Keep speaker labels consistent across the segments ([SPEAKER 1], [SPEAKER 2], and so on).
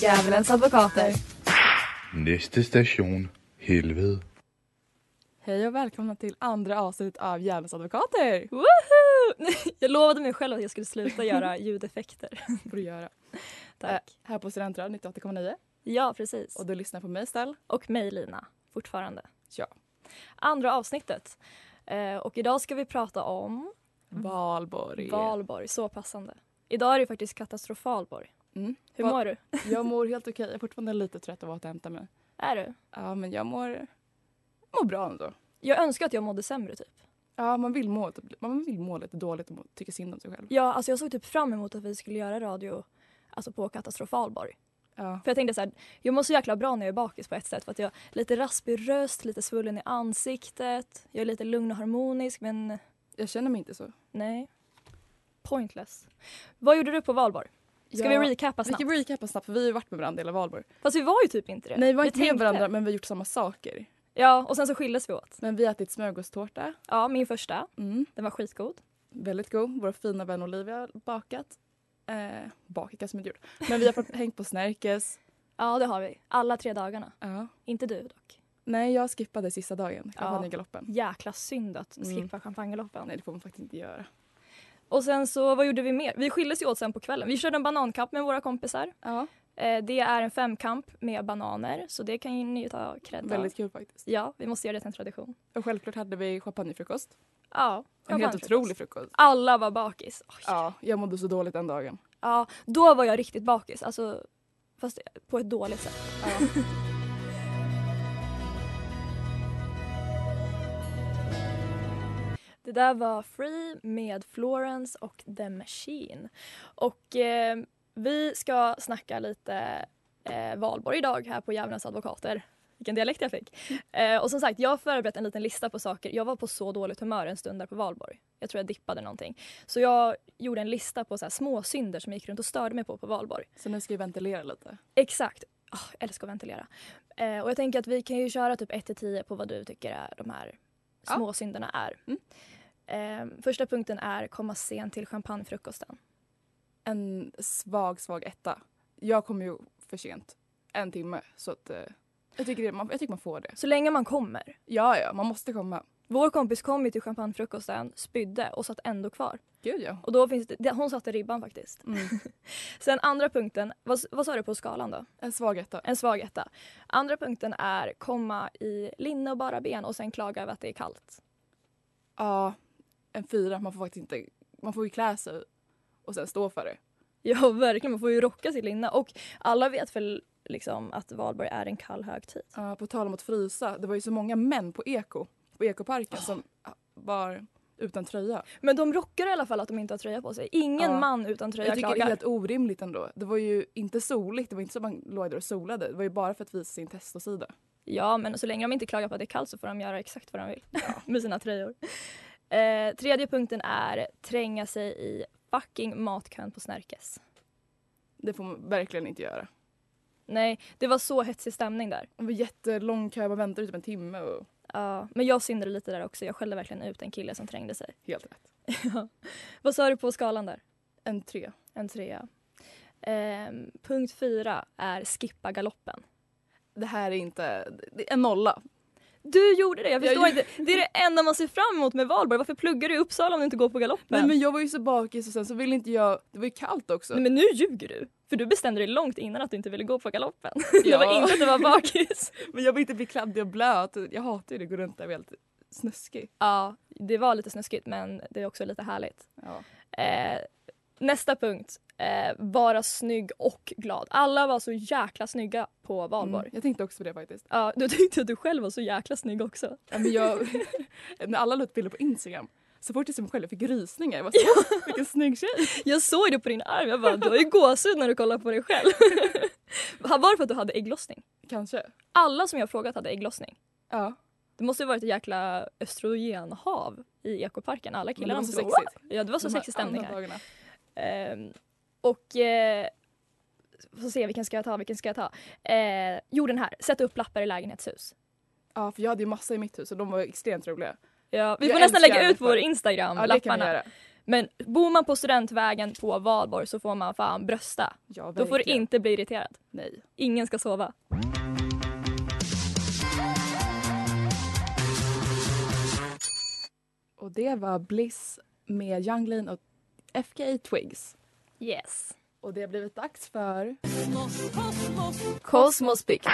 [SPEAKER 1] Djävulens advokater.
[SPEAKER 2] Næste station, helvede.
[SPEAKER 1] Hej och välkomna till andra avsnittet av Djävulens advokater.
[SPEAKER 3] Woohoo! Jag lovade mig själv att jag skulle sluta göra ljudeffekter.
[SPEAKER 1] Får du göra.
[SPEAKER 3] Tack.
[SPEAKER 1] Här på Studentradion 98,9
[SPEAKER 3] Ja, precis.
[SPEAKER 1] och du lyssnar på mig Estelle.
[SPEAKER 3] Och mig, Lina, fortfarande.
[SPEAKER 1] Ja.
[SPEAKER 3] Andra avsnittet. Eh, och idag ska vi prata om
[SPEAKER 1] Mm. Valborg.
[SPEAKER 3] valborg. Så passande. Idag är det faktiskt katastrofalborg.
[SPEAKER 1] Mm.
[SPEAKER 3] Hur
[SPEAKER 1] Va-
[SPEAKER 3] mår du?
[SPEAKER 1] Jag mår helt okej. Jag är fortfarande lite trött av att hämta mig.
[SPEAKER 3] Är du?
[SPEAKER 1] Ja, men jag mår, mår bra ändå.
[SPEAKER 3] Jag önskar att jag mådde sämre, typ.
[SPEAKER 1] Ja, man vill, må, typ- man vill må lite dåligt och tycka synd om sig själv.
[SPEAKER 3] Ja, alltså jag såg typ fram emot att vi skulle göra radio alltså på katastrofalborg.
[SPEAKER 1] Ja.
[SPEAKER 3] För jag tänkte så här, jag mår så jäkla bra när jag är bakis på ett sätt för att jag är lite raspig röst, lite svullen i ansiktet, jag är lite lugn och harmonisk men
[SPEAKER 1] Jag känner mig inte så.
[SPEAKER 3] nej. Pointless. Vad gjorde du på valborg? Ska
[SPEAKER 1] Jag-
[SPEAKER 3] vi recapa
[SPEAKER 1] Vi
[SPEAKER 3] snabbt?
[SPEAKER 1] kan recapa snabbt för vi har ju varit med varandra hela Valborg.
[SPEAKER 3] Fast vi var ju typ inte det.
[SPEAKER 1] Nej, vi var inte med
[SPEAKER 3] tänkte.
[SPEAKER 1] varandra men vi har gjort samma saker.
[SPEAKER 3] Ja, och sen så skildes vi åt.
[SPEAKER 1] Men vi har ätit smörgåstårta.
[SPEAKER 3] Ja, min första,
[SPEAKER 1] Mm.
[SPEAKER 3] den var skitgod.
[SPEAKER 1] Väldigt god. Vår fina vän Olivia har bakat. Eh, bakat kanske man inte gjort. Men vi har fått hängt på Snärkes.
[SPEAKER 3] Ja, det har vi. Alla tre dagarna.
[SPEAKER 1] Ja.
[SPEAKER 3] Inte du dock.
[SPEAKER 1] Nej, jag skippade sista dagen.
[SPEAKER 3] Ja.
[SPEAKER 1] Champagnegaloppen.
[SPEAKER 3] Jäkla synd att
[SPEAKER 1] Mm.
[SPEAKER 3] skippa champagneloppen.
[SPEAKER 1] Nej, det får man faktiskt inte göra.
[SPEAKER 3] Och sen så, vad gjorde vi mer? Vi skildes ju åt sen på kvällen. Vi körde en banankamp med våra kompisar.
[SPEAKER 1] Ja,
[SPEAKER 3] Eh, det är en femkamp med bananer, så det kan ju ni ju ta cred av.
[SPEAKER 1] väldigt kul faktiskt.
[SPEAKER 3] Ja, vi måste göra det till en tradition.
[SPEAKER 1] Och självklart hade vi champagnefrukost.
[SPEAKER 3] Ja,
[SPEAKER 1] En helt
[SPEAKER 3] champagnefrukost.
[SPEAKER 1] otrolig frukost.
[SPEAKER 3] Alla var bakis. Oj. Ja.
[SPEAKER 1] Ja, jag mådde så dåligt den dagen.
[SPEAKER 3] då var jag riktigt bakis. Alltså, fast på ett dåligt sätt.
[SPEAKER 1] Ja.
[SPEAKER 3] Det där var Free med Florence och The Machine. Och eh, vi ska snacka lite eh, valborg idag här på Djävulens advokater. Vilken dialekt jag fick. Eh, och som sagt, jag har förberett en liten lista på saker. Jag var på så dåligt humör en stund där på valborg. Jag tror jag dippade någonting. Så jag gjorde en lista på så här små synder som jag gick runt och störde mig på på valborg.
[SPEAKER 1] Så nu ska vi ventilera lite.
[SPEAKER 3] Exakt. Oh, jag älskar att ventilera. Eh, och jag tänker att vi kan ju köra typ 1 till 10 på vad du tycker är de här
[SPEAKER 1] Ja.
[SPEAKER 3] små synderna är. Eh, första punkten är komma sent till champagnefrukosten.
[SPEAKER 1] En svag, svag etta. Jag kom ju för sent. En timme. Så att, eh, jag, tycker det, man, jag tycker man får det.
[SPEAKER 3] Så länge man kommer.
[SPEAKER 1] Ja, ja, man måste komma.
[SPEAKER 3] Vår kompis kom ju till champagnefrukosten, spydde och satt ändå kvar.
[SPEAKER 1] Gud ja.
[SPEAKER 3] Och då finns det, det, hon satte ribban faktiskt.
[SPEAKER 1] Mm.
[SPEAKER 3] Sen andra punkten, vad, vad sa du på skalan då?
[SPEAKER 1] En svag etta.
[SPEAKER 3] En svag etta. Andra punkten är komma i linne och bara ben och sen klaga över att det är kallt.
[SPEAKER 1] Ja, en fyra. Man får faktiskt inte... Man får ju klä sig och sen stå för det.
[SPEAKER 3] Ja, verkligen. Man får ju rocka sitt linne. Och alla vet väl liksom att valborg är en kall högtid.
[SPEAKER 1] Ja, på tal om att frysa, det var ju så många män på Eko, på Ekoparken som ja, var utan tröja.
[SPEAKER 3] Men de rockar i alla fall att de inte har tröja på sig. Ingen
[SPEAKER 1] Ja.
[SPEAKER 3] man utan
[SPEAKER 1] Jag,
[SPEAKER 3] tröja
[SPEAKER 1] tycker det är
[SPEAKER 3] klagar.
[SPEAKER 1] helt orimligt ändå. Det var ju inte soligt, det var inte så man låg där och solade. Det var ju bara för att visa sin testosida.
[SPEAKER 3] Ja, men så länge de inte klagar på att det är kallt så får de göra exakt vad de vill med sina tröjor. Eh, tredje punkten är tränga sig i fucking matkön på Snärkes.
[SPEAKER 1] Det får man verkligen inte göra.
[SPEAKER 3] Nej, det var så hetsig stämning där.
[SPEAKER 1] Det var jättelång kö, man väntade typ en timme och
[SPEAKER 3] Ja, men jag syndade lite där också. Jag skällde verkligen ut en kille som trängde sig.
[SPEAKER 1] helt rätt.
[SPEAKER 3] Vad sa du på skalan där?
[SPEAKER 1] En tre.
[SPEAKER 3] En trea. Ehm, punkt fyra är skippa galoppen.
[SPEAKER 1] Det här är inte... Det är en nolla.
[SPEAKER 3] Du gjorde det, jag
[SPEAKER 1] Jag
[SPEAKER 3] förstår
[SPEAKER 1] gjorde-
[SPEAKER 3] inte. Det är det enda man ser fram emot med valborg. Varför pluggar du i Uppsala om du inte går på galoppen?
[SPEAKER 1] Nej men jag var ju så bakis och sen så ville inte jag... Det var ju kallt också.
[SPEAKER 3] Nej, men nu ljuger du. För du bestämde dig långt innan att du inte ville gå på galoppen. Det
[SPEAKER 1] Ja.
[SPEAKER 3] var inte att du var bakis.
[SPEAKER 1] Men jag vill inte bli kladdig och blöt. Jag hatar ju det, gå runt där och vara helt snuskig.
[SPEAKER 3] ja, det var lite snuskigt men det är också lite härligt.
[SPEAKER 1] Ja.
[SPEAKER 3] Eh, nästa punkt. Eh, vara snygg och glad. Alla var så jäkla snygga på valborg.
[SPEAKER 1] Mm. Jag tänkte också på det faktiskt.
[SPEAKER 3] Ja, du tyckte att du själv var så jäkla snygg också.
[SPEAKER 1] Ja, Men jag, när alla la ut bilder på Instagram Så fort jag såg mig själv fick jag rysningar. Jag bara, så, vilken snygg tjej!
[SPEAKER 3] Jag såg det på din arm. Jag bara, du har ju gåshud när du kollar på dig själv. Var det för att du hade ägglossning?
[SPEAKER 1] Kanske.
[SPEAKER 3] Alla som jag har frågat hade ägglossning.
[SPEAKER 1] Ja.
[SPEAKER 3] Det måste ju varit ett jäkla östrogenhav i ekoparken. Alla
[SPEAKER 1] Men det
[SPEAKER 3] killarna
[SPEAKER 1] var så
[SPEAKER 3] bara,
[SPEAKER 1] sexigt.
[SPEAKER 3] "Wow!" Ja, det var så
[SPEAKER 1] De här
[SPEAKER 3] sexig stämning
[SPEAKER 1] andra
[SPEAKER 3] här.
[SPEAKER 1] dagarna.
[SPEAKER 3] Ehm, och... Eh, får se, vilken ska jag ta? Vilken ska jag ta? Eh, jo, den här. Sätta upp lappar i lägenhetshus.
[SPEAKER 1] Ja, för jag hade ju massa i mitt hus och de var extremt roliga.
[SPEAKER 3] Ja, vi
[SPEAKER 1] Jag
[SPEAKER 3] får nästan
[SPEAKER 1] älskar
[SPEAKER 3] lägga ut på
[SPEAKER 1] lappar.
[SPEAKER 3] vår Instagram,
[SPEAKER 1] Ja, det kan vi
[SPEAKER 3] lapparna.
[SPEAKER 1] göra.
[SPEAKER 3] Men bor man på Studentvägen på Valborg så får man fan brösta.
[SPEAKER 1] Ja,
[SPEAKER 3] Då får du
[SPEAKER 1] verkligen.
[SPEAKER 3] inte bli irriterad.
[SPEAKER 1] Nej.
[SPEAKER 3] Ingen ska sova.
[SPEAKER 1] Och det var Bliss med Young Lean och FKA Twigs.
[SPEAKER 3] Yes.
[SPEAKER 1] Och det har blivit dags för...
[SPEAKER 3] Kosmosbikt.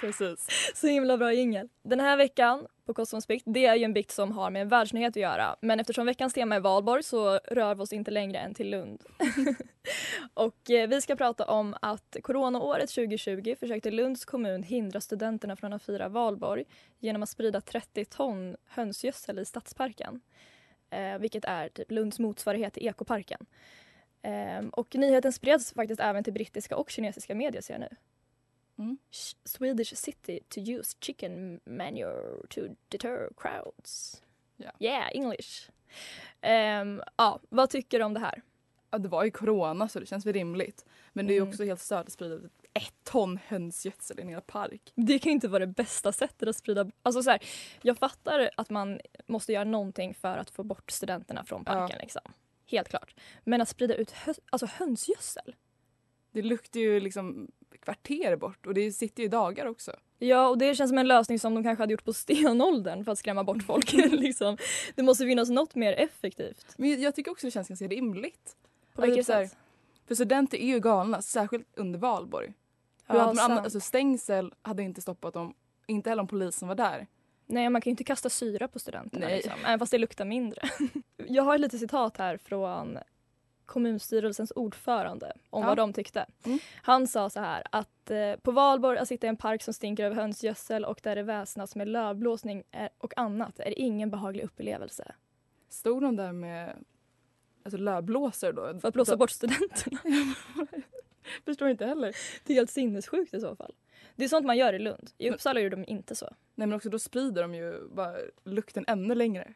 [SPEAKER 1] Precis.
[SPEAKER 3] Så himla bra jingel. Den här veckan på Kosmosbikt, det är ju en bikt som har med en världsnyhet att göra. Men eftersom veckans tema är valborg så rör vi oss inte längre än till Lund. och eh, vi ska prata om att coronaåret 2020 försökte Lunds kommun hindra studenterna från att fira valborg genom att sprida 30 ton hönsgödsel i stadsparken. Eh, vilket är typ Lunds motsvarighet till ekoparken. Ehm, och nyheten spreds faktiskt även till brittiska och kinesiska medier ser jag nu.
[SPEAKER 1] Mm.
[SPEAKER 3] Sh- Swedish city to use chicken manure to deter crowds.
[SPEAKER 1] Ja.
[SPEAKER 3] Yeah, English. Ehm, ja, vad tycker du om det här?
[SPEAKER 1] Ja, det var ju corona så det känns väl rimligt. Men det är ju
[SPEAKER 3] Mm.
[SPEAKER 1] också helt stört att sprida ett ton hönsgödsel i en hel park.
[SPEAKER 3] Det kan ju inte vara det bästa sättet att sprida... Alltså så här, jag fattar att man måste göra någonting för att få bort studenterna från
[SPEAKER 1] Ja.
[SPEAKER 3] parken. Liksom. Helt klart. Men att sprida ut hö- alltså hönsgödsel?
[SPEAKER 1] Det luktar ju liksom kvarter bort och det sitter ju dagar också.
[SPEAKER 3] Ja, och det känns som en lösning som de kanske hade gjort på stenåldern för att skrämma bort folk. liksom. Det måste finnas något mer effektivt.
[SPEAKER 1] Men jag tycker också det känns ganska rimligt.
[SPEAKER 3] På
[SPEAKER 1] Ja,
[SPEAKER 3] vilket
[SPEAKER 1] typ så här,
[SPEAKER 3] sätt?
[SPEAKER 1] För studenter är ju galna, särskilt under valborg. Hur
[SPEAKER 3] Ja,
[SPEAKER 1] hade man annat,
[SPEAKER 3] sant.
[SPEAKER 1] alltså stängsel hade inte stoppat dem, inte heller om polisen var där.
[SPEAKER 3] Nej, man kan ju inte kasta syra på studenterna.
[SPEAKER 1] Nej.
[SPEAKER 3] Liksom. Även fast det luktar mindre. Jag har ett litet citat här från kommunstyrelsens ordförande om
[SPEAKER 1] Ja.
[SPEAKER 3] vad de tyckte.
[SPEAKER 1] Mm.
[SPEAKER 3] Han sa så här att eh, på valborg att sitta i en park som stinker av hönsgödsel och där det väsnas med lövblåsning är, och annat är ingen behaglig upplevelse.
[SPEAKER 1] Stod de där med alltså, lövblåsare då?
[SPEAKER 3] För att blåsa
[SPEAKER 1] Då-
[SPEAKER 3] bort studenterna.
[SPEAKER 1] Förstår inte heller.
[SPEAKER 3] Det är helt sinnessjukt i så fall. Det är sånt man gör i Lund. I Uppsala gjorde de inte så.
[SPEAKER 1] Nej men också då sprider de ju bara lukten ännu längre.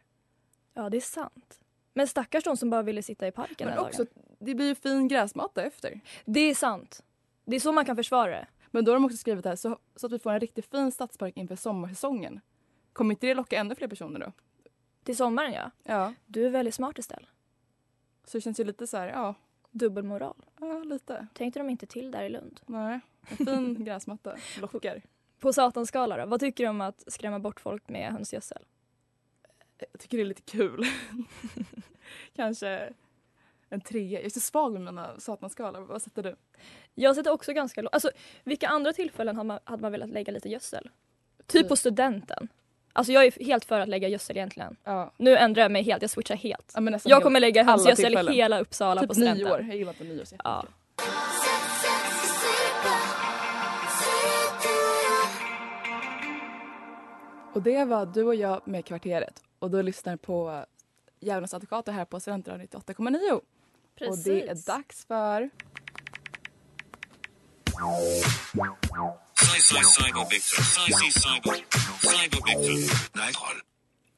[SPEAKER 3] Ja, det är sant. Men stackars de som bara ville sitta i parken
[SPEAKER 1] Men
[SPEAKER 3] den
[SPEAKER 1] också,
[SPEAKER 3] dagen.
[SPEAKER 1] det blir ju fin gräsmatta efter.
[SPEAKER 3] Det är sant. Det är så man kan försvara det.
[SPEAKER 1] Men då har de också skrivit det här så, så att vi får en riktigt fin stadspark inför sommarsäsongen. Kommer inte det locka ännu fler personer då?
[SPEAKER 3] Till sommaren, ja.
[SPEAKER 1] Ja.
[SPEAKER 3] Du är väldigt smart istället.
[SPEAKER 1] Så det känns ju lite så här, ja,
[SPEAKER 3] Dubbelmoral.
[SPEAKER 1] ja lite.
[SPEAKER 3] Tänkte de inte till där i Lund?
[SPEAKER 1] Nej. En fin gräsmatta lockar.
[SPEAKER 3] På satanskala då, vad tycker du om att skrämma bort folk med hönsgödsel?
[SPEAKER 1] Jag tycker det är lite kul. Kanske en trea. Jag är så svag med mina satanskalar. Vad sätter du?
[SPEAKER 3] Jag sätter också ganska lågt. Alltså, vilka andra tillfällen hade man, hade man velat lägga lite gödsel? Typ på studenten. Alltså jag är helt för att lägga gödsel egentligen.
[SPEAKER 1] Ja. Nu,
[SPEAKER 3] Nu ändrar jag mig helt, jag switchar helt.
[SPEAKER 1] ja men nästan
[SPEAKER 3] Jag
[SPEAKER 1] helt-
[SPEAKER 3] kommer lägga hönsgödsel
[SPEAKER 1] Alltså, tillfällen.
[SPEAKER 3] i hela Uppsala på
[SPEAKER 1] typ
[SPEAKER 3] studenten.
[SPEAKER 1] nyår. Jag gillar inte nyår så
[SPEAKER 3] Ja.
[SPEAKER 1] jättemycket. Och det var du och jag med Kvarteret. Och du lyssnar på Djävulens advokater här på Studentradion 98,9. Och det är dags för...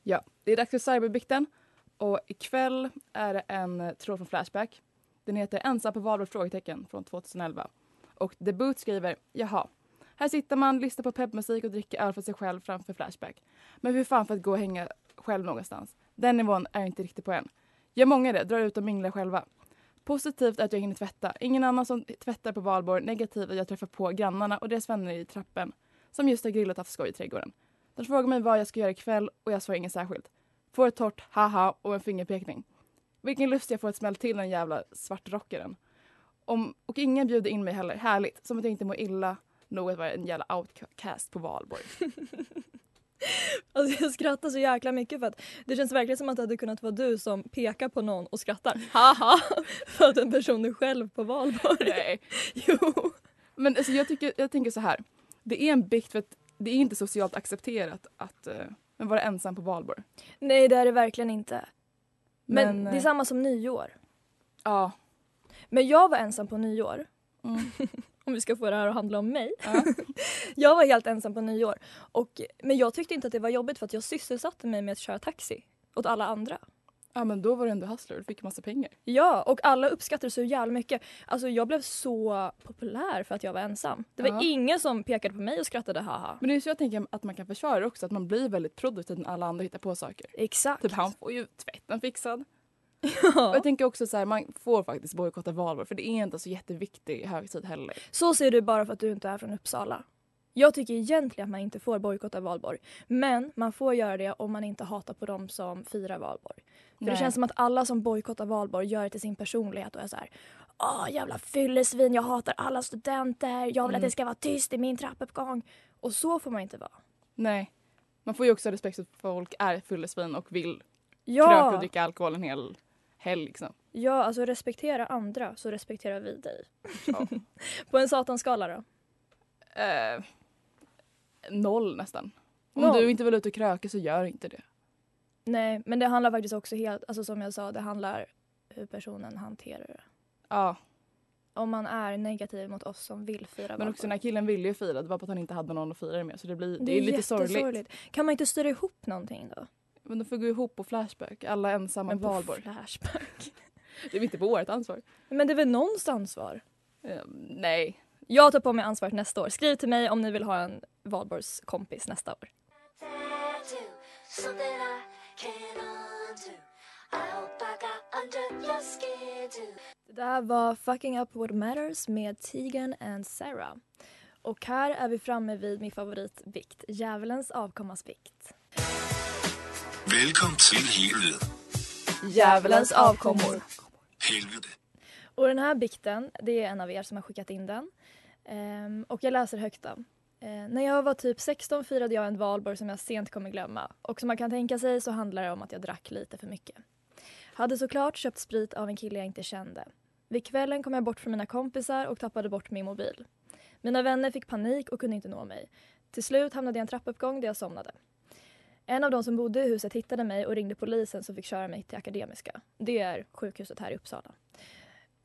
[SPEAKER 1] Ja, det är dags för Cyberbikten. Och ikväll är det en eh, tråd från Flashback. Den heter Ensam på valborg? Frågetecken från 2011. Och Debut skriver Jaha, här sitter man, lyssnar på peppmusik och dricker öl för sig själv framför Flashback. Men hur fan för att gå och hänga själv någonstans? Den nivån är jag inte riktigt på än. Gör många det, drar ut och minglar själva. Positivt är att jag hinner tvätta. Ingen annan som tvättar på valborg. Negativt är att jag träffar på grannarna och deras vänner i trappen som just har grillat och haft skoj i trädgården. De frågar mig vad jag ska göra ikväll och jag svarar inget särskilt. Får ett torrt haha och en fingerpekning. Vilken lust jag får att smälla till den jävla svartrockaren. Om, och ingen bjuder in mig heller. Härligt. Som att jag inte mår illa nog att vara en jävla outcast på valborg.
[SPEAKER 3] Alltså jag skrattar så jäkla mycket för att det känns verkligen som att det hade kunnat vara du som pekar på någon och skrattar haha för att en person är själv på valborg.
[SPEAKER 1] Nej.
[SPEAKER 3] Jo.
[SPEAKER 1] Men alltså, jag, tycker, jag tänker så här. Det är en bikt för att det är inte socialt accepterat att eh, men vara ensam på valborg.
[SPEAKER 3] Nej det är det verkligen inte. Men, det är
[SPEAKER 1] eh,
[SPEAKER 3] samma som nyår.
[SPEAKER 1] Ja.
[SPEAKER 3] Men jag var ensam på nyår.
[SPEAKER 1] Mm.
[SPEAKER 3] Om vi ska få det här att handla om mig.
[SPEAKER 1] Ja.
[SPEAKER 3] jag var helt ensam på nyår. Och, men jag tyckte inte att det var jobbigt för att jag sysselsatte mig med att köra taxi åt alla andra.
[SPEAKER 1] ja, men då var du ändå hustler. Du fick massa pengar.
[SPEAKER 3] Ja, och alla uppskattade så jävla mycket. Alltså jag blev så populär för att jag var ensam. Det var
[SPEAKER 1] Ja.
[SPEAKER 3] ingen som pekade på mig och skrattade haha.
[SPEAKER 1] Men det är så jag tänker att man kan försvara det också, att man blir väldigt produktiv när alla andra hittar på saker.
[SPEAKER 3] Exakt.
[SPEAKER 1] Typ han får ju tvätten fixad. Och jag tänker också så här, man får faktiskt bojkotta valborg för det är inte så jätteviktig högtid heller.
[SPEAKER 3] Så ser du bara för att du inte är från Uppsala. Jag tycker egentligen att man inte får bojkotta valborg. Men man får göra det om man inte hatar på dem som firar valborg. För
[SPEAKER 1] Nej.
[SPEAKER 3] det känns som att alla som bojkottar valborg gör det till sin personlighet och är så här. Åh jävla fyllesvin, jag hatar alla studenter, jag vill
[SPEAKER 1] Mm.
[SPEAKER 3] att det ska vara tyst i min trappuppgång. Och så får man inte vara.
[SPEAKER 1] Nej. Man får ju också ha respekt för att folk är fyllesvin och vill kröka och
[SPEAKER 3] Ja,
[SPEAKER 1] dricka alkohol en hel helg liksom.
[SPEAKER 3] ja alltså respektera andra så respekterar vi dig.
[SPEAKER 1] Ja.
[SPEAKER 3] På en satanskala då?
[SPEAKER 1] Eh, noll nästan. Om
[SPEAKER 3] Noll.
[SPEAKER 1] du inte vill ut och kröka så gör inte det.
[SPEAKER 3] Nej, men det handlar faktiskt också helt, alltså som jag sa, det handlar hur personen hanterar det.
[SPEAKER 1] Ja,
[SPEAKER 3] Om man är negativ mot oss som vill
[SPEAKER 1] men
[SPEAKER 3] fira valborg.
[SPEAKER 1] också den här killen ville ju fira, det var bara att han inte hade någon att fira det med så det, blir, det, är lite
[SPEAKER 3] jättesorgligt.
[SPEAKER 1] sorgligt.
[SPEAKER 3] Kan man inte styra ihop någonting då?
[SPEAKER 1] Men de får gå ihop på Flashback, alla ensamma på valborg.
[SPEAKER 3] Flashback.
[SPEAKER 1] Det är inte på vårt ansvar.
[SPEAKER 3] Men det är väl någons ansvar?
[SPEAKER 1] Eh, nej.
[SPEAKER 3] Jag tar på mig ansvaret nästa år. Skriv till mig om ni vill ha en valborgskompis nästa år.
[SPEAKER 4] tattoo, something I can't undo. I hope I got under your skin too.
[SPEAKER 3] Det där var Fucking Up What Matters med Tegan and Sarah. Och här är vi framme vid min favoritvikt, djävulens avkommas vikt.
[SPEAKER 5] Velkommen til helvede.
[SPEAKER 3] Djävulens avkommor.
[SPEAKER 5] Helvede.
[SPEAKER 3] Och den här bikten, det är en av er som har skickat in den. Ehm, och jag läser högt då. Eh, när jag var typ 16 firade jag en valborg som jag sent kommer glömma. Och som man kan tänka sig så handlar det om att jag drack lite för mycket. Hade såklart köpt sprit av en kille jag inte kände. Vid kvällen kom jag bort från mina kompisar och tappade bort min mobil. Mina vänner fick panik och kunde inte nå mig. Till slut hamnade jag i en trappuppgång där jag somnade. En av de som bodde i huset hittade mig och ringde polisen som fick köra mig till Akademiska. Det är sjukhuset här i Uppsala.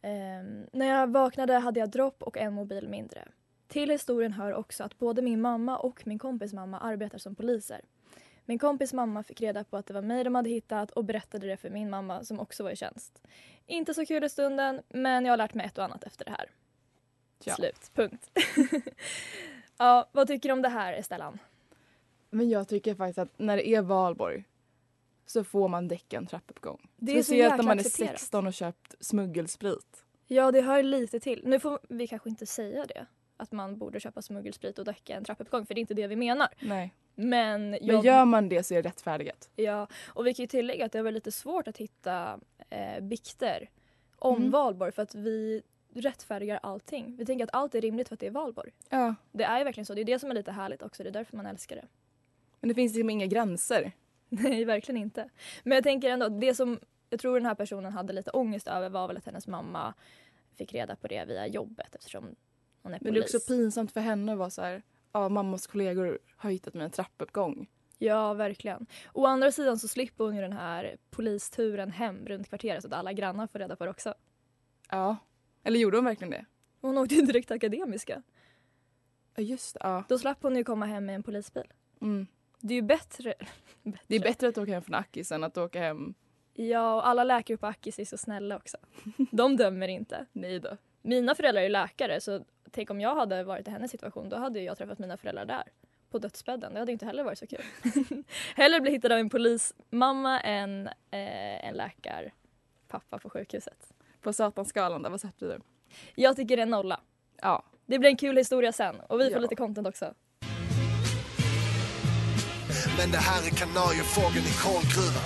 [SPEAKER 3] Ehm, när jag vaknade hade jag dropp och en mobil mindre. Till historien hör också att både min mamma och min kompis mamma arbetar som poliser. Min kompis mamma fick reda på att det var mig de hade hittat och berättade det för min mamma som också var i tjänst. Inte så kul i stunden, men jag har lärt mig ett och annat efter det här.
[SPEAKER 1] Tja.
[SPEAKER 3] Slut. Punkt. ja, vad tycker du om det här, Estellan?
[SPEAKER 1] Men jag tycker faktiskt att när det är valborg så får man däcka en trappuppgång.
[SPEAKER 3] Det är så
[SPEAKER 1] Speciellt
[SPEAKER 3] jäkla
[SPEAKER 1] när man är
[SPEAKER 3] accepterat.
[SPEAKER 1] 16 och köpt smuggelsprit.
[SPEAKER 3] Ja, det hör lite till. Nu får vi kanske inte säga det, att man borde köpa smuggelsprit och däcka en trappuppgång, för det är inte det vi menar.
[SPEAKER 1] Nej.
[SPEAKER 3] Men jag...
[SPEAKER 1] Men gör man det så är det rättfärdigat.
[SPEAKER 3] Ja, och vi kan ju tillägga att det var lite svårt att hitta eh, bikter om
[SPEAKER 1] Mm.
[SPEAKER 3] valborg för att vi rättfärdigar allting. Vi tänker att allt är rimligt för att det är valborg.
[SPEAKER 1] Ja.
[SPEAKER 3] Det är ju verkligen så. Det är det som är lite härligt också. Det är därför man älskar det.
[SPEAKER 1] Men det finns liksom inga gränser.
[SPEAKER 3] Nej, verkligen inte. Men jag tänker ändå, det som jag tror den här personen hade lite ångest över var väl att hennes mamma fick reda på det via jobbet eftersom hon är
[SPEAKER 1] Men
[SPEAKER 3] polis.
[SPEAKER 1] det är också pinsamt för henne att vara så här, ja mammas kollegor har hittat mig i en trappuppgång.
[SPEAKER 3] Ja, verkligen. Å andra sidan så slipper hon ju den här polisturen hem runt kvarteret så att alla grannar får reda på det också.
[SPEAKER 1] Ja. Eller gjorde hon verkligen det?
[SPEAKER 3] Hon åkte ju direkt till Akademiska.
[SPEAKER 1] Ja just det, ja.
[SPEAKER 3] Då slapp hon ju komma hem med en polisbil.
[SPEAKER 1] Mm.
[SPEAKER 3] Det är ju bättre. bättre.
[SPEAKER 1] Det är bättre att åka hem från Akis än att åka hem,
[SPEAKER 3] Ja, och alla läkare på Akis är så snälla också. De dömer inte.
[SPEAKER 1] nej då.
[SPEAKER 3] Mina föräldrar är ju läkare så tänk om jag hade varit i hennes situation då hade ju jag träffat mina föräldrar där. På dödsbädden. Det hade ju inte heller varit så kul. Hellre bli hittad av en polismamma än eh, en läkarpappa på sjukhuset.
[SPEAKER 1] På satanskalan där, vad satte du?
[SPEAKER 3] Jag tycker det är en nolla.
[SPEAKER 1] Ja.
[SPEAKER 3] Det blir en kul historia sen och vi får
[SPEAKER 1] Ja.
[SPEAKER 3] lite content också.
[SPEAKER 5] Men det her er kanariefågel i kålgruva.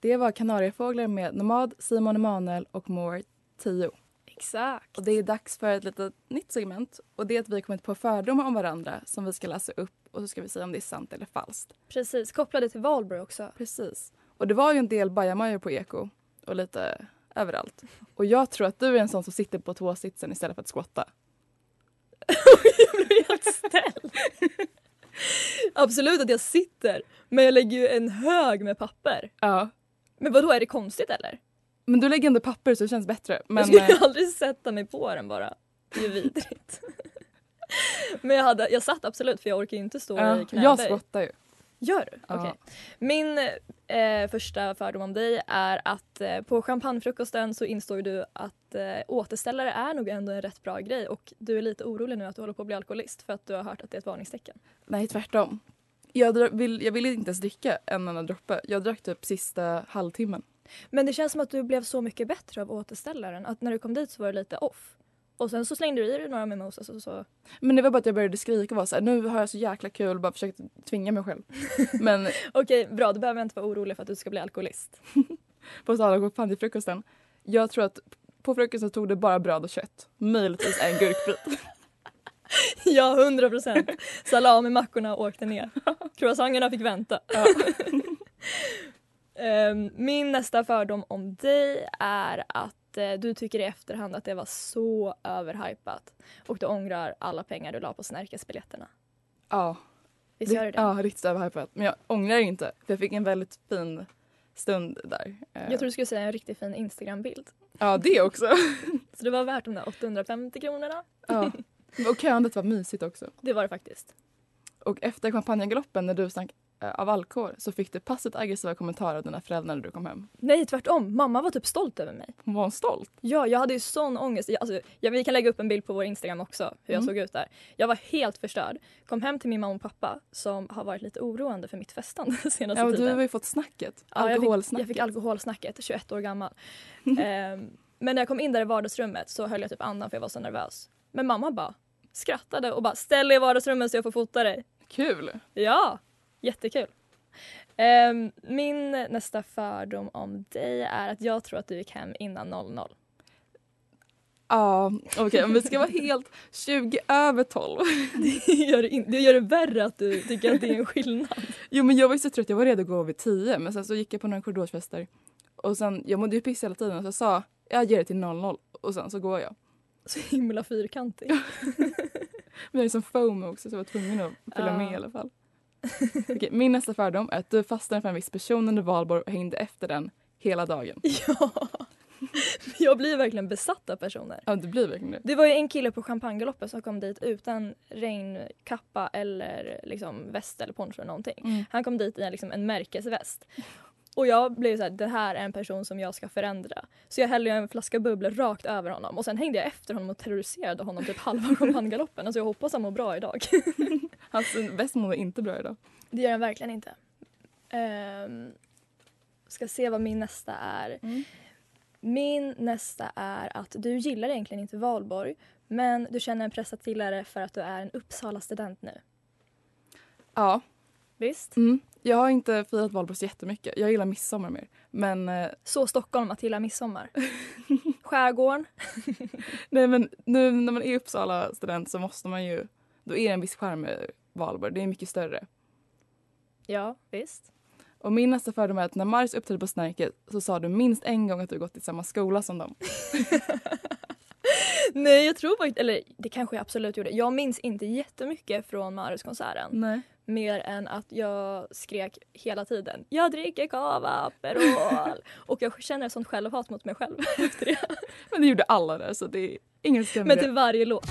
[SPEAKER 1] Det var Kanariefåglar med Nomad, Simon Emanuel och More 10.
[SPEAKER 3] Exakt.
[SPEAKER 1] Och det är dags för ett litet nytt segment. Och det är att vi har kommit på fördomar om varandra som vi ska läsa upp och så ska vi säga om det är sant eller falskt.
[SPEAKER 3] Precis, kopplade till Valborg också.
[SPEAKER 1] Precis. Och det var ju en del bajamajor på Eko och lite överallt. Och jag tror att du är en sån som sitter på tåsitsen istället för att skotta.
[SPEAKER 3] Jag blir helt ställd. Absolut att jag sitter, men jag lägger ju en hög med papper.
[SPEAKER 1] Ja.
[SPEAKER 3] Men vad då är det konstigt eller?
[SPEAKER 1] Men du lägger ändå papper så det känns bättre. Men
[SPEAKER 3] jag skulle
[SPEAKER 1] eh,
[SPEAKER 3] aldrig sätta mig på den bara. Det är ju vidrigt. Men jag, hade, jag satt absolut för jag orkar ju inte stå i
[SPEAKER 1] ja,
[SPEAKER 3] knäböj.
[SPEAKER 1] jag spottar ju.
[SPEAKER 3] Gör du?
[SPEAKER 1] Ja.
[SPEAKER 3] Okej. Min eh, första fördom om dig är att eh, på champagnefrukosten så insåg du att eh, återställare är nog ändå en rätt bra grej och du är lite orolig nu att du håller på att bli alkoholist för att du har hört att det är ett varningstecken.
[SPEAKER 1] Nej, tvärtom. Jag, dra- vill, jag ville inte ens dricka en enda droppe. Jag drack typ sista halvtimmen.
[SPEAKER 3] Men det känns som att du blev så mycket bättre av återställaren att när du kom dit så var du lite off. Och sen så slängde du i dig några mimosas och så.
[SPEAKER 1] Men det var bara att jag började skrika och var så här, nu har jag så jäkla kul, bara försökt tvinga mig själv. Men
[SPEAKER 3] Okej, bra, du behöver inte vara orolig för att du ska bli alkoholist.
[SPEAKER 1] på tal om champagnefrukosten, jag tror att på frukosten tog det bara bröd och kött. Möjligtvis en gurkbit.
[SPEAKER 3] ja, hundra procent. Salamimackorna åkte ner. Croissangerna fick vänta.
[SPEAKER 1] Ja.
[SPEAKER 3] Ehm, Min nästa fördom om dig är att eh, du tycker i efterhand att det var så överhypat och du ångrar alla pengar du la på Snärkesbiljetterna.
[SPEAKER 1] ja,
[SPEAKER 3] Visst gör du det?
[SPEAKER 1] Ja, riktigt överhypat. Men jag ångrar ju inte, för jag fick en väldigt fin stund där. Eh,
[SPEAKER 3] Jag tror du skulle säga en riktigt fin Instagram-bild.
[SPEAKER 1] Ja, det också.
[SPEAKER 3] Så det var värt de där 850 kronorna.
[SPEAKER 1] ja. Och köandet var mysigt också.
[SPEAKER 3] Det var det faktiskt.
[SPEAKER 1] Och efter champagnegaloppen när du stank eh, av alkohol så fick du passivt aggressiva kommentarer av dina föräldrar när du kom hem.
[SPEAKER 3] Nej, tvärtom. Mamma var typ stolt över mig.
[SPEAKER 1] Hon var stolt.
[SPEAKER 3] Ja, jag hade ju sån ångest. Jag, alltså, ja, vi kan lägga upp en bild på vår Instagram också, hur jag
[SPEAKER 1] Mm.
[SPEAKER 3] såg ut där. Jag var helt förstörd. Kom hem till min mamma och pappa som har varit lite oroande för mitt festande senaste
[SPEAKER 1] Ja, och du
[SPEAKER 3] Alltså, tiden.
[SPEAKER 1] har ju fått snacket.
[SPEAKER 3] Ja, jag fick-
[SPEAKER 1] Alkoholsnacket.
[SPEAKER 3] Jag fick alkoholsnacket, 21 år gammal.
[SPEAKER 1] Mm.
[SPEAKER 3] Ehm, men när jag kom in där i vardagsrummet så höll jag typ andan för jag var så nervös. Men mamma bara skrattade och bara ställ dig i vardagsrummet så jag får fota dig.
[SPEAKER 1] Kul!
[SPEAKER 3] Ja, jättekul. Ehm, min nästa fördom om dig är att jag tror att du gick hem innan 00.
[SPEAKER 1] Ja, okej om vi ska vara helt 20 över 12.
[SPEAKER 3] Det gör det, in- det gör det värre att du tycker att det är en skillnad.
[SPEAKER 1] Jo men jag var ju så trött, jag var redo att gå vid 10 men sen så gick jag på några korridorsfester och sen, jag mådde ju piss hela tiden så jag sa jag ger det till 00 och sen så går jag.
[SPEAKER 3] Så himla fyrkantig.
[SPEAKER 1] Men jag är som FOMO också så jag var tvungen att följa
[SPEAKER 3] Ja.
[SPEAKER 1] med i alla fall. Okej, min nästa fördom är att du fastnade för en viss person under valborg och hängde efter den hela dagen.
[SPEAKER 3] Ja. Jag blir verkligen besatt av personer.
[SPEAKER 1] Ja det blir verkligen det.
[SPEAKER 3] Det var ju en kille på champagnegaloppen som kom dit utan regnkappa eller liksom väst eller poncho eller någonting.
[SPEAKER 1] Mm.
[SPEAKER 3] Han kom dit i en, liksom en märkesväst. Och jag blev så här, det här är en person som jag ska förändra. Så jag hällde ju en flaska bubblor rakt över honom och sen hängde jag efter honom och terroriserade honom typ halva champagnegaloppen. Alltså jag hoppas han mår bra idag.
[SPEAKER 1] Hans väst mår inte bra idag.
[SPEAKER 3] Det gör den verkligen inte. Ehm, ska se vad min nästa är.
[SPEAKER 1] Mm.
[SPEAKER 3] Min nästa är att du gillar egentligen inte valborg men du känner en press att gilla det för att du är en Uppsala-student nu.
[SPEAKER 1] Ja,
[SPEAKER 3] Visst?
[SPEAKER 1] mm. jag har inte firat valborg så jättemycket. Jag gillar midsommar mer. Men eh,
[SPEAKER 3] Så Stockholm att gilla midsommar. Skärgården.
[SPEAKER 1] Nej men nu när man är Uppsala student så måste man ju, då är det en viss skärm med valborg, det är mycket större.
[SPEAKER 3] Ja, visst.
[SPEAKER 1] Och min nästa fördom är att när Maris uppträdde på Snärket så sa du minst en gång att du gått i samma skola som dem.
[SPEAKER 3] Nej, jag tror faktiskt... Eller det kanske jag absolut gjorde. Jag minns inte jättemycket från Maruskonserten.
[SPEAKER 1] Nej.
[SPEAKER 3] Mer än att jag skrek hela tiden. Jag dricker cava, Aperol. Och jag känner ett sånt självhat mot mig själv efter det.
[SPEAKER 1] Men det gjorde alla där så det är ingen skam
[SPEAKER 3] Men typ-
[SPEAKER 1] med
[SPEAKER 3] till
[SPEAKER 1] det.
[SPEAKER 3] varje låt.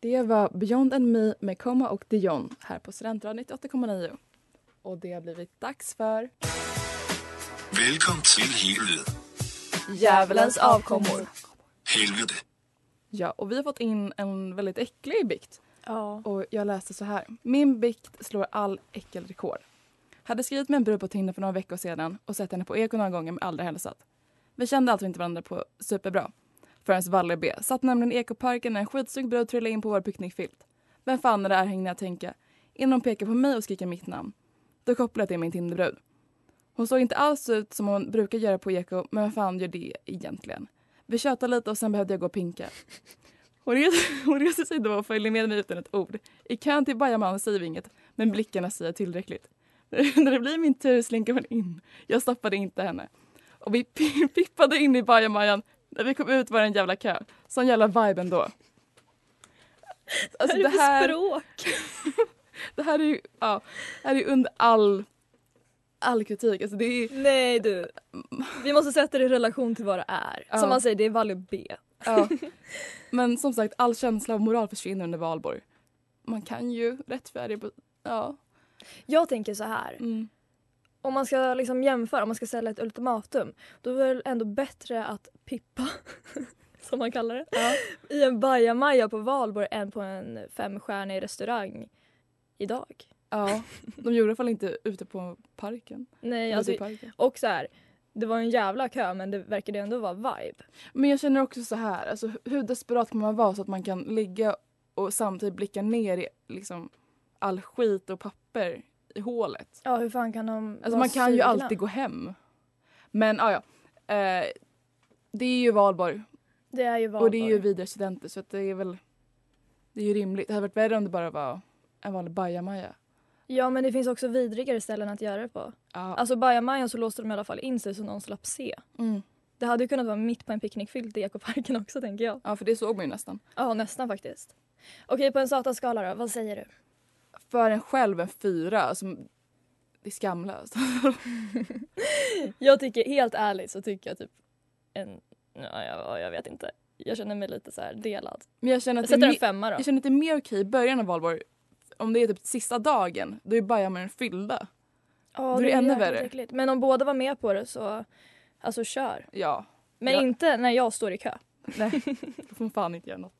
[SPEAKER 1] Det var Beyond and Me med Komma och Dion här på Studentrad 98,9. Och det har blivit dags för
[SPEAKER 5] Välkommen till helvede.
[SPEAKER 3] Djävulens avkommor.
[SPEAKER 5] Helvede.
[SPEAKER 1] Ja, och vi har fått in en väldigt äcklig bikt.
[SPEAKER 3] Ja.
[SPEAKER 1] Och jag läste så här. Min bikt slår all äckelrekord. Hade skrivit med en brud på Tinder för några veckor sedan och sett henne på Eko några gånger men aldrig hälsat. Vi kände alltså inte varandra på superbra. Förrän Valle B. Satt nämligen i Ekoparken när en skitsnygg brud trillade in på vår picknickfilt. Vem fan är det här hängde jag att tänka. Innan hon pekade på mig och skriker mitt namn. Då kopplade jag till min Tinderbrud. Hon såg inte alls ut som hon brukar göra på Eko men vem fan gör det egentligen? Vi tjötade lite och sen behövde jag gå och pinka. Hon reser, hon reser sig då och följer med mig utan ett ord. I kön till bajamannen säger vi inget, men blickarna säger tillräckligt. När det blir min tur slinker hon in. Jag stoppade inte henne. Och vi pi- pippade in i bajamajan. När vi kom ut var det en jävla kö. Sån jävla vibe ändå. Alltså
[SPEAKER 3] Vad är det för språk?
[SPEAKER 1] Det här är ju, ja, det här är ju under all, all kritik. Alltså det är,
[SPEAKER 3] Nej du. Vi måste sätta det i relation till vad det är.
[SPEAKER 1] Ja.
[SPEAKER 3] Som man säger, det är value B.
[SPEAKER 1] ja. Men som sagt, all känsla av moral försvinner under valborg. Man kan ju rättfärdiga på... Ja.
[SPEAKER 3] Jag tänker så här.
[SPEAKER 1] Mm.
[SPEAKER 3] Om man ska liksom jämföra, om man ska ställa ett ultimatum. Då är det väl ändå bättre att pippa, som man kallar det,
[SPEAKER 1] Ja.
[SPEAKER 3] i en bajamaja på valborg än på en femstjärnig restaurang idag.
[SPEAKER 1] ja. De gjorde i alla fall inte ute på parken.
[SPEAKER 3] Nej,
[SPEAKER 1] Ute
[SPEAKER 3] alltså,
[SPEAKER 1] i parken.
[SPEAKER 3] och så här. Det var en jävla kö men det verkade ändå vara vibe.
[SPEAKER 1] Men jag känner också så här, alltså, hur desperat kan man vara så att man kan ligga och samtidigt blicka ner i liksom, all skit och papper i hålet?
[SPEAKER 3] Ja hur fan kan de
[SPEAKER 1] Alltså,
[SPEAKER 3] vara
[SPEAKER 1] man kan ju
[SPEAKER 3] sugna?
[SPEAKER 1] alltid gå hem. Men ah, ja, eh, det är ju valborg
[SPEAKER 3] Det är ju valborg.
[SPEAKER 1] och det är ju vidare studenter så att det är väl det är ju rimligt. Det hade varit värre om det bara var en vanlig bajamaja.
[SPEAKER 3] Ja men det finns också vidrigare ställen att göra det på.
[SPEAKER 1] Ja.
[SPEAKER 3] Alltså bajamajan så låste de i alla fall in sig så någon slapp se.
[SPEAKER 1] Mm.
[SPEAKER 3] Det hade ju kunnat vara mitt på en picknickfilt i ekoparken också tänker jag.
[SPEAKER 1] ja, för det såg man ju nästan.
[SPEAKER 3] Ja nästan faktiskt. Okej på en satanskala då, vad säger du?
[SPEAKER 1] För en själv en fyra, alltså, det är skamlöst.
[SPEAKER 3] Jag tycker helt ärligt så tycker jag typ en, ja jag, jag vet inte. Jag känner mig lite så här delad.
[SPEAKER 1] Men jag känner att
[SPEAKER 3] Jag
[SPEAKER 1] det är
[SPEAKER 3] sätter
[SPEAKER 1] mi-
[SPEAKER 3] en femma då.
[SPEAKER 1] Jag känner att det är mer okej i början av valborg. Om det är typ sista dagen, då är bajamajan fyllda.
[SPEAKER 3] Ja,
[SPEAKER 1] Då är det ännu
[SPEAKER 3] jäkligt
[SPEAKER 1] värre.
[SPEAKER 3] äckligt. Men om båda var med på det så alltså kör.
[SPEAKER 1] Ja,
[SPEAKER 3] Men
[SPEAKER 1] Ja.
[SPEAKER 3] inte när jag står i kö.
[SPEAKER 1] nej. Då får man fan inte göra något.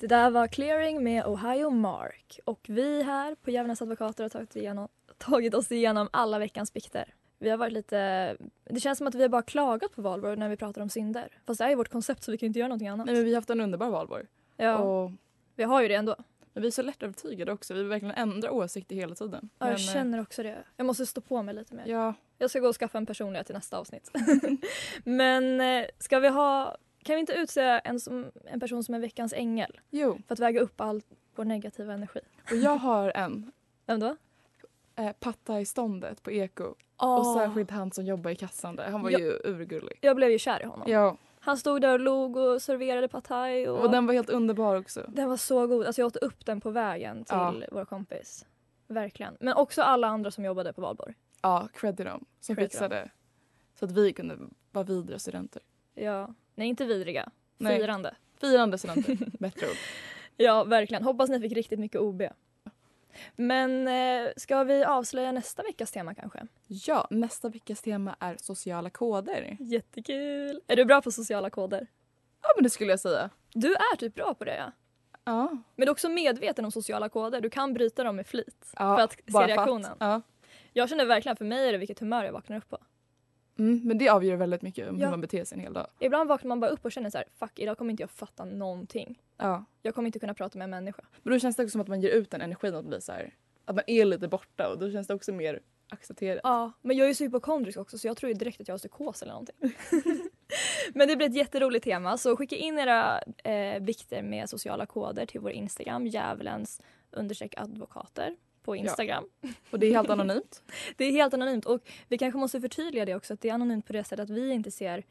[SPEAKER 3] Det där var Clearing med Ohio Mark och vi här på Djävulens advokater har tagit, igenom, tagit oss igenom alla veckans bikter. Vi har varit lite, det känns som att vi har bara klagat på valborg när vi pratar om synder. Fast det är ju vårt koncept så vi kan ju inte göra någonting annat.
[SPEAKER 1] Nej men vi har haft en underbar valborg.
[SPEAKER 3] ja,
[SPEAKER 1] Och,
[SPEAKER 3] vi har ju det ändå.
[SPEAKER 1] men vi är så lättövertygade också. Vi vill verkligen ändra åsikter hela tiden.
[SPEAKER 3] Ja,
[SPEAKER 1] Men,
[SPEAKER 3] jag
[SPEAKER 1] eh,
[SPEAKER 3] känner också det. Jag måste stå på mig lite mer.
[SPEAKER 1] Ja,
[SPEAKER 3] Jag ska gå och skaffa en personlighet till nästa avsnitt. Men eh, ska vi ha, kan vi inte utse en, som, en person som är veckans ängel?
[SPEAKER 1] jo.
[SPEAKER 3] För att väga upp all vår negativa energi.
[SPEAKER 1] Och jag har en.
[SPEAKER 3] Vem då?
[SPEAKER 1] Eh, patta i ståndet på Eko. Och särskilt han som jobbar i kassan där. Han var
[SPEAKER 3] Ja.
[SPEAKER 1] ju urgullig.
[SPEAKER 3] Jag blev ju kär i honom.
[SPEAKER 1] Ja,
[SPEAKER 3] Han stod där och log och serverade pad thai. Och,
[SPEAKER 1] och den var helt underbar också.
[SPEAKER 3] den var så god. Alltså jag åt upp den på vägen till
[SPEAKER 1] Ja.
[SPEAKER 3] vår kompis. Verkligen. Men också alla andra som jobbade på valborg.
[SPEAKER 1] Ja, cred till dem som
[SPEAKER 3] Cred till dem.
[SPEAKER 1] fixade så att vi kunde vara vidriga studenter.
[SPEAKER 3] Ja. Nej, inte vidriga.
[SPEAKER 1] Nej.
[SPEAKER 3] Firande.
[SPEAKER 1] Firande studenter, bättre ord.
[SPEAKER 3] Ja, verkligen. Hoppas ni fick riktigt mycket OB. Men eh, ska vi avslöja nästa veckas tema kanske?
[SPEAKER 1] Ja, nästa veckas tema är sociala koder.
[SPEAKER 3] Jättekul! Är du bra på sociala koder?
[SPEAKER 1] Ja, men det skulle jag säga.
[SPEAKER 3] Du är typ bra på det ja.
[SPEAKER 1] Ja,
[SPEAKER 3] Men du är också medveten om sociala koder. Du kan bryta dem med flit.
[SPEAKER 1] ja
[SPEAKER 3] för att se
[SPEAKER 1] bara
[SPEAKER 3] reaktionen.
[SPEAKER 1] För att,
[SPEAKER 3] Jag känner verkligen för mig är det vilket humör jag vaknar upp på.
[SPEAKER 1] ja. mm, men det avgör väldigt mycket om
[SPEAKER 3] Ja.
[SPEAKER 1] hur man beter sig en hel dag.
[SPEAKER 3] Ibland vaknar man bara upp och känner så här, fuck idag kommer inte jag fatta någonting.
[SPEAKER 1] Ja.
[SPEAKER 3] Jag kommer inte kunna prata med en människa.
[SPEAKER 1] Men då känns det också som att man ger ut den energin att bli så här, att man är lite borta och då känns det också mer accepterat.
[SPEAKER 3] Ja, men jag är ju så hypokondrisk också så jag tror ju direkt att jag har psykos eller någonting. men det blir ett jätteroligt tema så skicka in era eh, vikter med sociala koder till vår Instagram, djävulens understreck advokater på Instagram.
[SPEAKER 1] Och det är helt anonymt.
[SPEAKER 3] Det är helt anonymt och vi kanske måste förtydliga det också att det är anonymt på det sättet att vi inte ser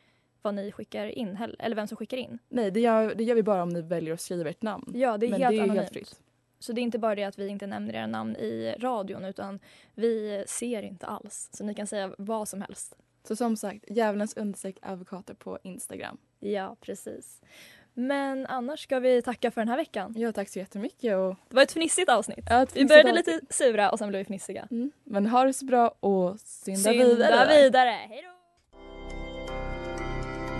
[SPEAKER 3] vad ni skickar in heller, eller vem som skickar in.
[SPEAKER 1] Nej, det gör, det gör vi bara om ni väljer att skriva ert namn.
[SPEAKER 3] Ja, det är
[SPEAKER 1] men
[SPEAKER 3] helt
[SPEAKER 1] det är
[SPEAKER 3] anonymt.
[SPEAKER 1] helt fritt.
[SPEAKER 3] Så det är inte bara det att vi inte nämner era namn i radion utan vi ser inte alls. Så ni kan säga vad som helst.
[SPEAKER 1] Så som sagt, djävulens understreck advokater på Instagram.
[SPEAKER 3] Ja, precis. Men annars ska vi tacka för den här veckan.
[SPEAKER 1] Ja, tack så jättemycket. Och,
[SPEAKER 3] Det var ett fnissigt avsnitt.
[SPEAKER 1] ja, ett
[SPEAKER 3] Vi började lite sura och sen blev vi fnissiga.
[SPEAKER 1] Mm. Men ha det så bra och synda,
[SPEAKER 3] Synda
[SPEAKER 1] vidare.
[SPEAKER 3] vidare. Hej då!